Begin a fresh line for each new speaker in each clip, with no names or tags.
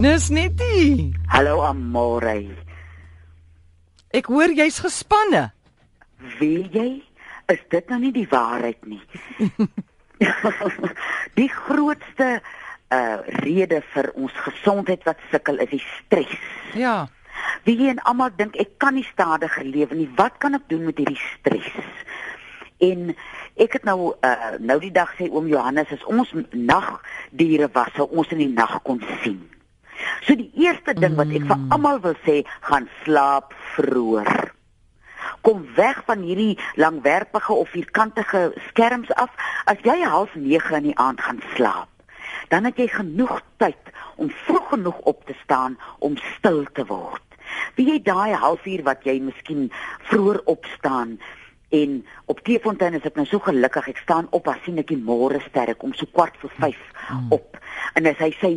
Dis net nie.
Hallo Amore.
Ek hoor jy's gespanne.
Weet jy, is dit nou nie die waarheid nie. die grootste uh rede vir ons gesondheid wat sukkel is die stres.
Ja.
Wie jy en almal dink ek kan nie stadiger lewe nie. Wat kan ek doen met hierdie stres? En ek het nou uh nou die dag sê oom Johannes as ons nagdiere was, sou ons in die nag kon sien. So die eerste ding wat ek vir almal wil sê, gaan slaap vroeër. Kom weg van hierdie langwerpige of vierkantige skerms af. As jy half 9 in die aand gaan slaap, dan het jy genoeg tyd om vroeg genoeg op te staan om stil te word. Wie jy daai halfuur wat jy miskien vroeër opstaan en op Kleefontein is ek nou so gelukkig ek staan op as sien ek die môre sterre kom so kwart voor 5 op en as hy sy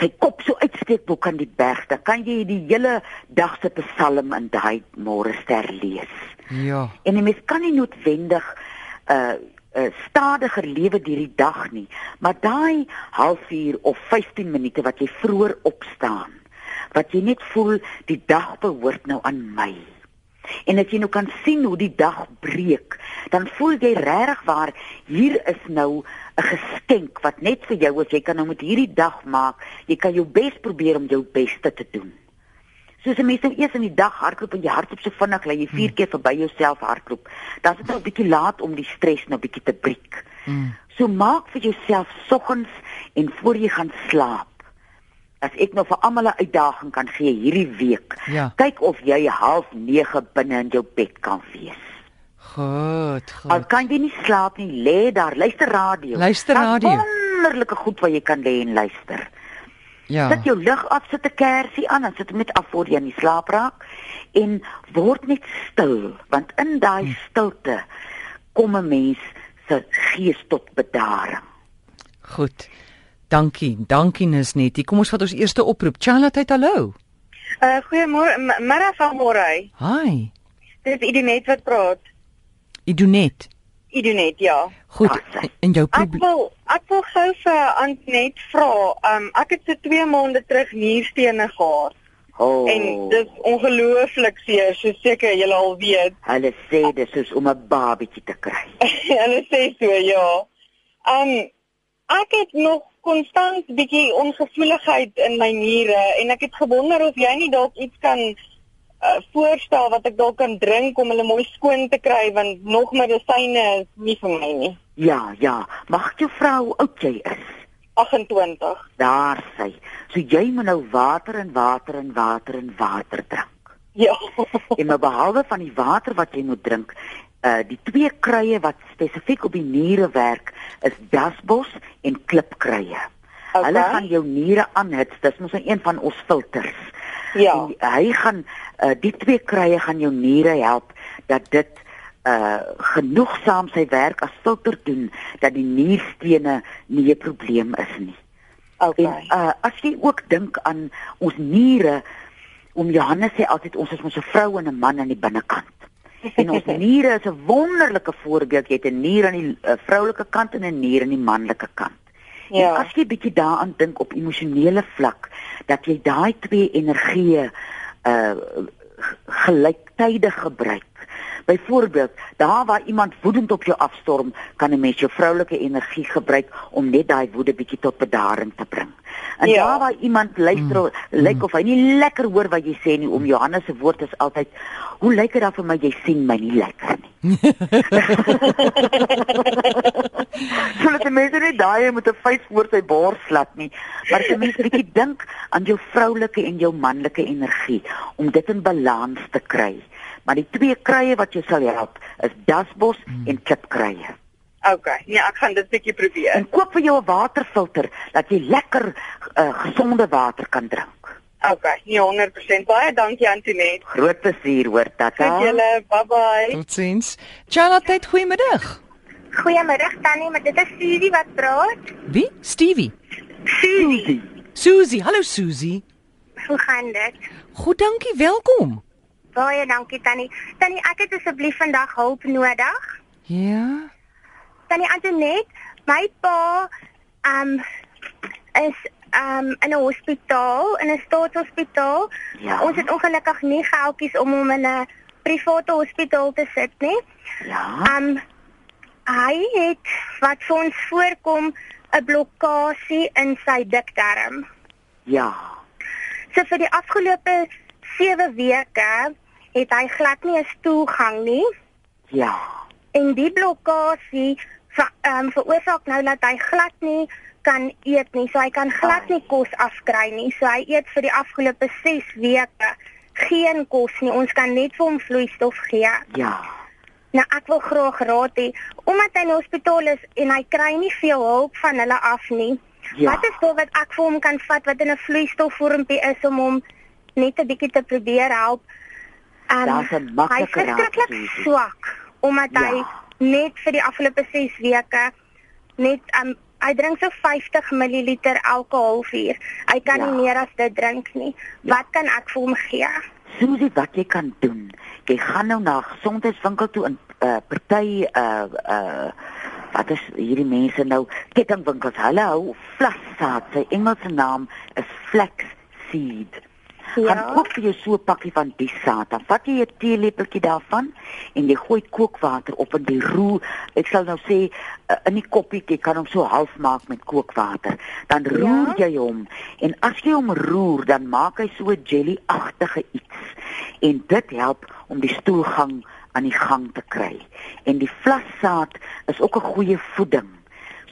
sy kop so uitsteek bo kan die berg dan kan jy die hele dag se psalm in daai môre ster lees.
Ja.
En 'n mens kan nie noodwendig uh, uh stadiger lewe deur die dag nie, maar daai halfuur of 15 minute wat jy vroeër opstaan, wat jy net voel die dag behoort nou aan my. En as jy nou kan sien hoe die dag breek, dan voel jy regtig waar hier is nou 'n geskenk wat net vir jou is. Jy kan nou met hierdie dag maak. Jy kan jou bes probeer om jou beste te doen. Soos 'n mens nou eers in die dag hardloop en jy hardloop so vinnig dat jy
Hmm.
vier keer verby jouself hardloop, dan is dit nou 'n bietjie laat om die stres nou bietjie te breek.
Mm.
So maak vir jouself soggens en voor jy gaan slaap. As ek nou vir almal 'n uitdaging kan gee hierdie week,
Ja.
kyk of jy half 9 binne in jou bed kan wees.
Goed,
Al
goed.
kan jy nie slaap nie, lê daar, luister radio.
Luister
Daar's
radio.
Wonderlike goed wat jy kan lê en luister.
Ja.
Sit jou lig af, sit 'n kersie aan en sit met af voor jy in die slaap raak en word net stil, want in daai stilte kom 'n mens se gees tot bedaring.
Goed. Dankie. Dankie Nisnetie. Kom ons vat ons eerste oproep. Charlotte, hy, hallo.
Uh, goeiemôre, m- middag van môre.
Hi.
Dis Idonet wat praat.
Jy doen net.
Idonet, ja.
Goed.
Ah, sy-
In jou
Ek
probleem.
wil ek wil gou vir Antonet vra. Um ek het so 2 maande terug nierstene gehad
Oh,
en dis ongelooflik seer, so seker julle al weet.
hulle sê dis soos om 'n babatjie te kry.
Hulle sê so, ja. Um ek het nog konstant bietjie ongevoeligheid in my niere en ek het gewonder of jy nie dalk iets kan uh, voorstel wat ek dalk kan drink om hulle mooi skoon te kry want nog medisyne is nie vir my nie.
Ja, ja, mag jou vrou hoe oud jy is.
28.
Daar sy. So jy moet nou water en water en water en water drink.
Ja.
En maar behalwe van die water wat jy moet drink, uh die twee kruie wat spesifiek op die niere werk, is dasbos en klipkruie.
Oké.
Okay. Hulle gaan jou niere aanhits. Dis mos nou een van ons filters.
Ja.
En die- hy gaan uh die twee kruie gaan jou niere help dat dit uh genoegsaam sy werk as filter doen dat die nierstene nie 'n probleem is nie.
Okay.
En uh, as jy ook dink aan ons niere, om Johannes sê altyd ons is mos 'n vrou en 'n man aan die binnekant. En ons niere is 'n wonderlike voorbeeld. Jy het 'n nier aan die uh, vroulike kant en 'n nier aan die manlike kant.
Ja.
En as jy bietjie daaraan dink op emosionele vlak dat jy daai twee energieë uh g- gelyktydig gebruik. Byvoorbeeld, daar waar iemand woedend op jou afstorm, kan 'n mens jou vroulike energie gebruik om net daai woede bietjie tot bedaring te bring. En
Ja.
ja. daar waar iemand luister, mm. lyk of hy nie lekker hoor wat jy sê nie, om Johannes se woord is altyd, hoe lyk dit dan vir my jy sien my nie lekker nie. Sodat die mense net daai met 'n vuis voor sy bors slat nie, maar as 'n mens bietjie dink aan jou vroulike en jou manlike energie om dit in balans te kry. Maar die twee kruie wat jou sal help is dasbos hmm. en klipkruie.
Okay. Nee, ek gaan dit bietjie probeer.
En koop vir jou 'n waterfilter dat jy lekker uh, gesonde water kan drink.
Okay. Nee, 100%. Baie dankie Antonet.
Groot plesier hoor, tata.
Tot julle. Bye bye.
Totsiens. Charlotte, hy, goeiemiddag.
Goeiemiddag Tannie, maar dit is Susie wat praat.
Wie? Stevie.
Susie.
Susie. Hallo Susie.
Hoe gaan dit?
Goed, dankie. Welkom.
Baie dankie Tannie. Tannie, ek het asseblief vandag hulp nodig.
Ja.
Tannie Antonet, my pa um ehm, is um in 'n hospitaal, in 'n staatshospitaal.
Ja.
Ons het ongelukkig nie geldjies om hom in 'n private hospitaal te sit nie.
Ja.
Um hy het wat vir ons voorkom 'n blokkade in sy dikdarm.
Ja.
So vir die afgelope 7 weke het hy glad nie 'n stoelgang nie
Ja.
en die blokkade ver, um, veroorsaak nou dat hy glad nie kan eet nie. So hy kan glad nie kos afkry nie. So hy eet vir die afgelope 6 weke geen kos nie. Ons kan net vir hom vloeistof gee.
Ja.
Nou ek wil graag raad hê omdat hy in die hospitaal is en hy kry nie veel hulp van hulle af nie.
Ja.
Wat is daar wat ek vir hom kan vat wat in 'n vloeistofvormpie is om hom net 'n bietjie te probeer help? Um,
Daar's 'n maklike
Hy
raad,
is verskriklik
Susie.
swak omdat
Ja.
hy net vir die afgelope 6 weke net um, hy drink so 50 ml elke halfuur. Hy kan
Ja.
nie meer as dit drink nie.
Ja.
Wat kan ek vir hom gee?
Susie, wat jy kan doen, jy gaan nou na gesondheidswinkel toe in eh uh, party eh uh, uh wat is hierdie mense nou kettingwinkels. Hulle hou vlassaad. Sy Engelse naam is flax seed.
Ja.
Gaan koop vir jou so 'n pakkie van die saad. Dan vat jy 'n teelepeltjie daarvan en jy gooi kookwater op in die roer. Ek sal nou sê eh, in die koppie, jy kan hom so half maak met kookwater. Dan roer jy hom en as jy hom roer, dan maak hy so 'n jelly-agtige iets en dit help om die stoelgang aan die gang te kry. En die vlassaad is ook 'n goeie voeding.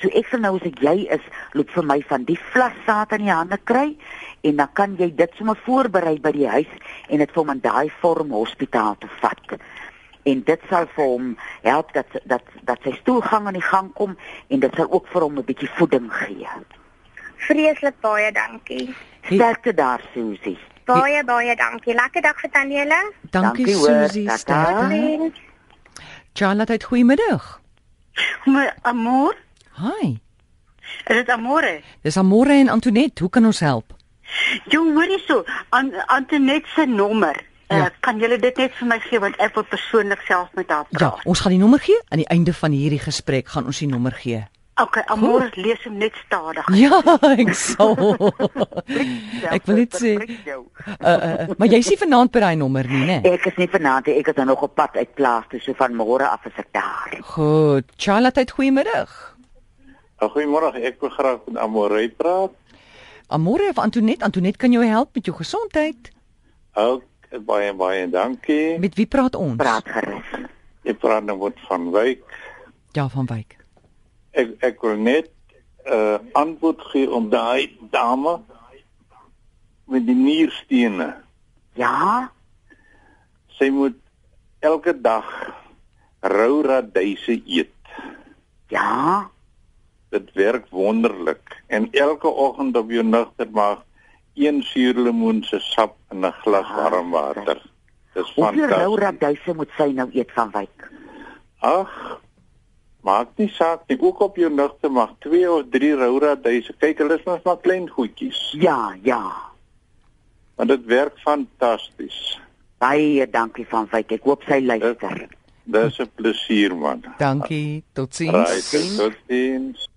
So ek sal nou as ek jy is, loop vir my van die vlassaad in die hande kry en dan kan jy dit sommer voorberei by die huis en dit vir hom in daai vorm hospitaal toe vat. En dit sal vir hom help dat dat dat sy stoelgang aan die gang kom en dit sal ook vir hom 'n bietjie voeding gee.
Vreeslik baie dankie.
Hey,
Sterkte daar Susie. Ja.
Baie baie dankie. Lekker dag vir tannie Ella.
dankie
dankie hoor,
Susie.
tata.
sterkte.
Totsiens.
Charlotte, het goeiemiddag.
My amor,
Hi.
is dit amore?
Dis Amore en Antoinette, hoe kan ons help?
Jong, hoor hierso, aan Antonet se nommer. Ja.
Ja.
Uh, kan julle dit net vir my gee want ek wil persoonlik self met haar
Ja,
praat.
ons gaan die nommer gee aan die einde van hierdie gesprek gaan ons die nommer gee.
Ja. Okay, amor, lees hom net stadig.
Ja, ek sal. ek wil net sê uh, uh, maar jy is nie vanaand by daai nommer nie, né?
Ek is nie vanaand nie, ek is nou nog op pad uit plaas toe, so van môre af is ek daar.
Goed. Charlotte, het goeiemiddag.
Ah, Goeiemôre, ek wil graag met Amorey praat.
Amore of Antoinette, Antoinette kan jou help met jou gesondheid.
Ook baie baie dankie.
Met wie praat ons?
Praat gerus.
Ek praat nou met van Wyk.
Ja, van Wyk.
Ek ek wil net 'n uh, antwoord gee op daai dame met die nierstene.
Ja,
Sy moet elke dag rou radyse eet.
ja,
Dit werk wonderlik en elke oggend op jou nugtermaag een suurlemoen se sap in 'n glas warm water. Dis
hoeveel
fantasties.
rou raduise moet sy nou eet van wyk?
Ag. Maak nie saak nie, ook op jou nigte mag 2 of 3 rouraduise. Kyk, hulle is mos maar klein goedjies,
Ja, ja.
maar dit werk fantasties.
Baie dankie van Wyk. Ek hoop sy luister.
Dis 'n plesier man.
Dankie. Totsiens.
Right, tot sins.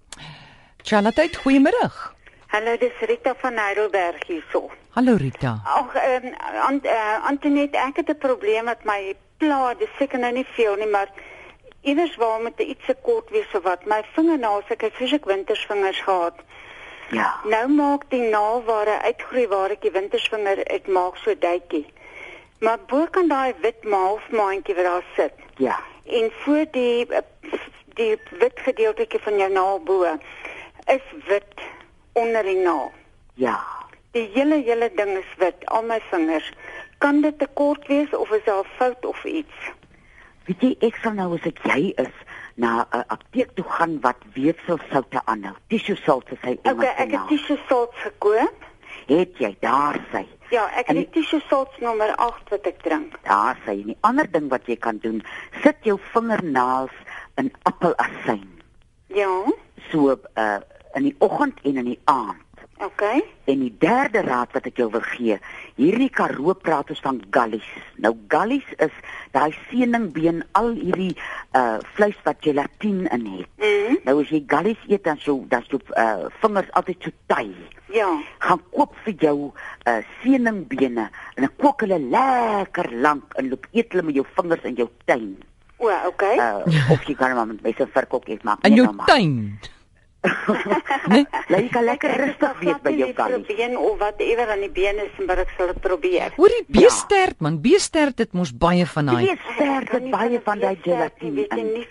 Charlotte, het goeiemiddag.
Hallo, dis Rita van Heidelberg hierso.
Hallo Rita.
Ag, ehm um, Ant, uh, Antonet, ek het 'n probleem met my pla, dis seker nou nie veel nie, maar iewers waar moet iets se kort wees of wat. My vingernaels, ek het fisiek wintersvingers gehad.
Ja.
Nou maak die naal waar hy uitgroei waar ek die wintersvinger dit maak so duitjie. Maar bo kan daai wit halfmaandjie wat daar sit
Ja.
en voor die eh, die wit gedeeltetjie van jou naal bo is wit onder die naal.
Ja.
Die hele hele ding is wit, al my vingers. Kan dit te kort wees of is daar 'n fout of iets?
Weet jy ek sal nou as ek jy is na 'n apteek toe gaan wat weefsel soute aanhou. Tissue soute sy
Okay,
Engelse
ek het
naam.
tissue salts gekoop.
Het jy daar sy?
Ja, ek
En
het die tissue salts nommer 8 wat ek drink.
Daar sy. En die ander ding wat jy kan doen, sit jou vingernaels in appelasyn.
Ja,
So uh in die oggend en in die aand.
okay.
En die derde raad wat ek jou wil gee, hierdie Karoo praat ons van gallies. Nou gallies is daai seningbeen al hierdie uh vleis wat gelatine in het.
Mm -hmm.
Nou as jy gallies eet dan so dan so uh vingers altyd so taai.
Ja.
Gaan koop vir jou uh seningbene en dan kook hulle lekker lank en loop eet hulle met jou vingers in jou tuin.
O, okay.
Uh of jy kan maar met my se verkoop eet maak
in
nie
jou
nou maar.
tuin. Nee,
Laat jy kan lekker
Ek- ek
rustig
sal
wees
glad
by
nie
jou
die
gallies.
Probeer of whatever aan die been is, maar ek sal dit probeer.
hoor die beestert man, beestert dit mos baie van daai.
Dis sterk met baie van daai gelatine
Weet jy
in.
nie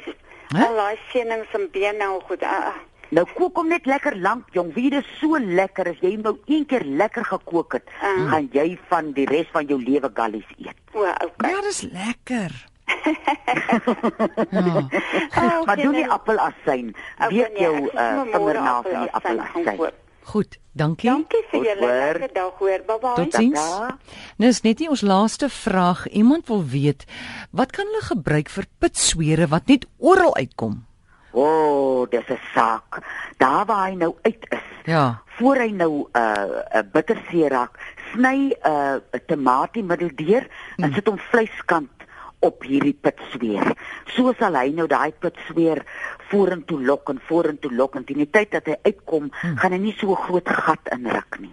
Hè?
al daai seenings en bene nou goed. ah, ah.
Nou kook hom net lekker lank, jong. Wie dit so lekker as jy hom nou een keer lekker gekook het,
Mm.
gaan jy van die res van jou lewe gallies eet.
O, okay.
Ja, dis lekker.
Ah,
Maar
oké,
doen nie
nou,
appelasyn.
okay,
Weet
nee,
jou
ek sal
eh,
sommer môre
vinger na van die
appelasyn gaan
appelasyn.
koop.
Goed, dankie.
Dankie vir
Goed
julle
hoor.
lekker dag hoor. Bye bye.
Tot ziens. Nou is net nie ons laaste vraag. Iemand wil weet, wat kan hulle gebruik vir pitswere wat net oral uitkom?
O, oh, dis 'n saak. Daar waar hy nou uit is.
Ja.
Voor hy nou 'n uh, 'n bitterseer raak, sny 'n uh, 'n tamatiemiddel deur en sit hom vleiskant op hierdie pitsweer. So sal hy nou daai pitsweer vorentoe lok en vorentoe lok en teen die tyd dat hy uitkom, gaan hy nie so 'n groot gat inruk nie.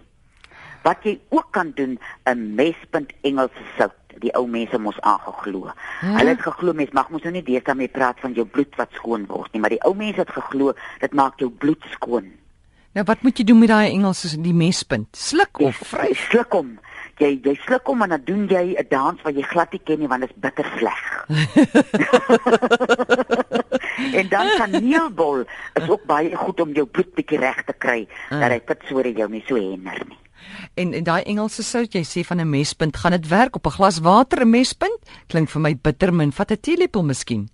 Wat jy ook kan doen, 'n mespunt Engelse sout. Die ou mense mos aangeglo.
Ja.
Hulle het geglo mens mag mos nou nie deesdae mee praat van jou bloed wat skoon word nie, maar die ou mense het geglo dit maak jou bloed skoon.
Nou wat moet jy doen met daai Engels is die mespunt? Sluk
Jy
of vryf?
sluk hom. Jy jy sluk hom en dan doen jy 'n dans wat jy glad nie ken nie want dit is bitter sleg. en dan kaneelbol is ook baie goed om jou bloed bietjie reg te kry dat hy pitsore jou nie so hinder nie.
En en daai Engelse sout jy sê van 'n mespunt, gaan dit werk op 'n glas water 'n mespunt? Klink vir my bitter min. Vat 'n teelepel miskien.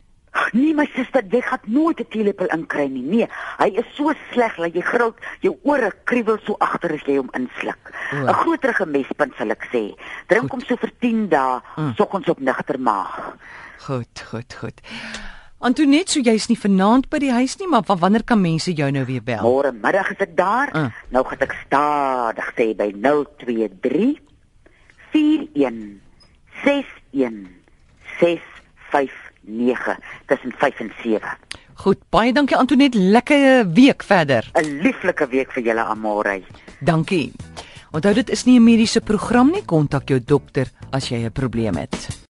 Nee my suster, jy gaan nooit 'n teelepel inkry nie. Nee, hy is so sleg dat jy gril, jou ore kriewel so agter as jy hom insluk.
O.
'n Groterige mespunt sal ek sê. Drink hom so vir 10 dae, mm. soggens op nigter maag.
Goed, goed, goed. Antonet, so jy's nie vanaand by die huis nie, maar van wanneer kan mense jou nou weer bel?
Oh. Môre middag is ek daar.
Mm.
Nou gaan ek stadig sê by 023 41 61 659 tussen 5 en 7.
Goed, baie dankie Antonet. Lekker week verder.
'n Lieflike week vir julle almal.
Dankie. Onthou dit is nie 'n mediese program nie. Kontak jou dokter as jy 'n probleem het.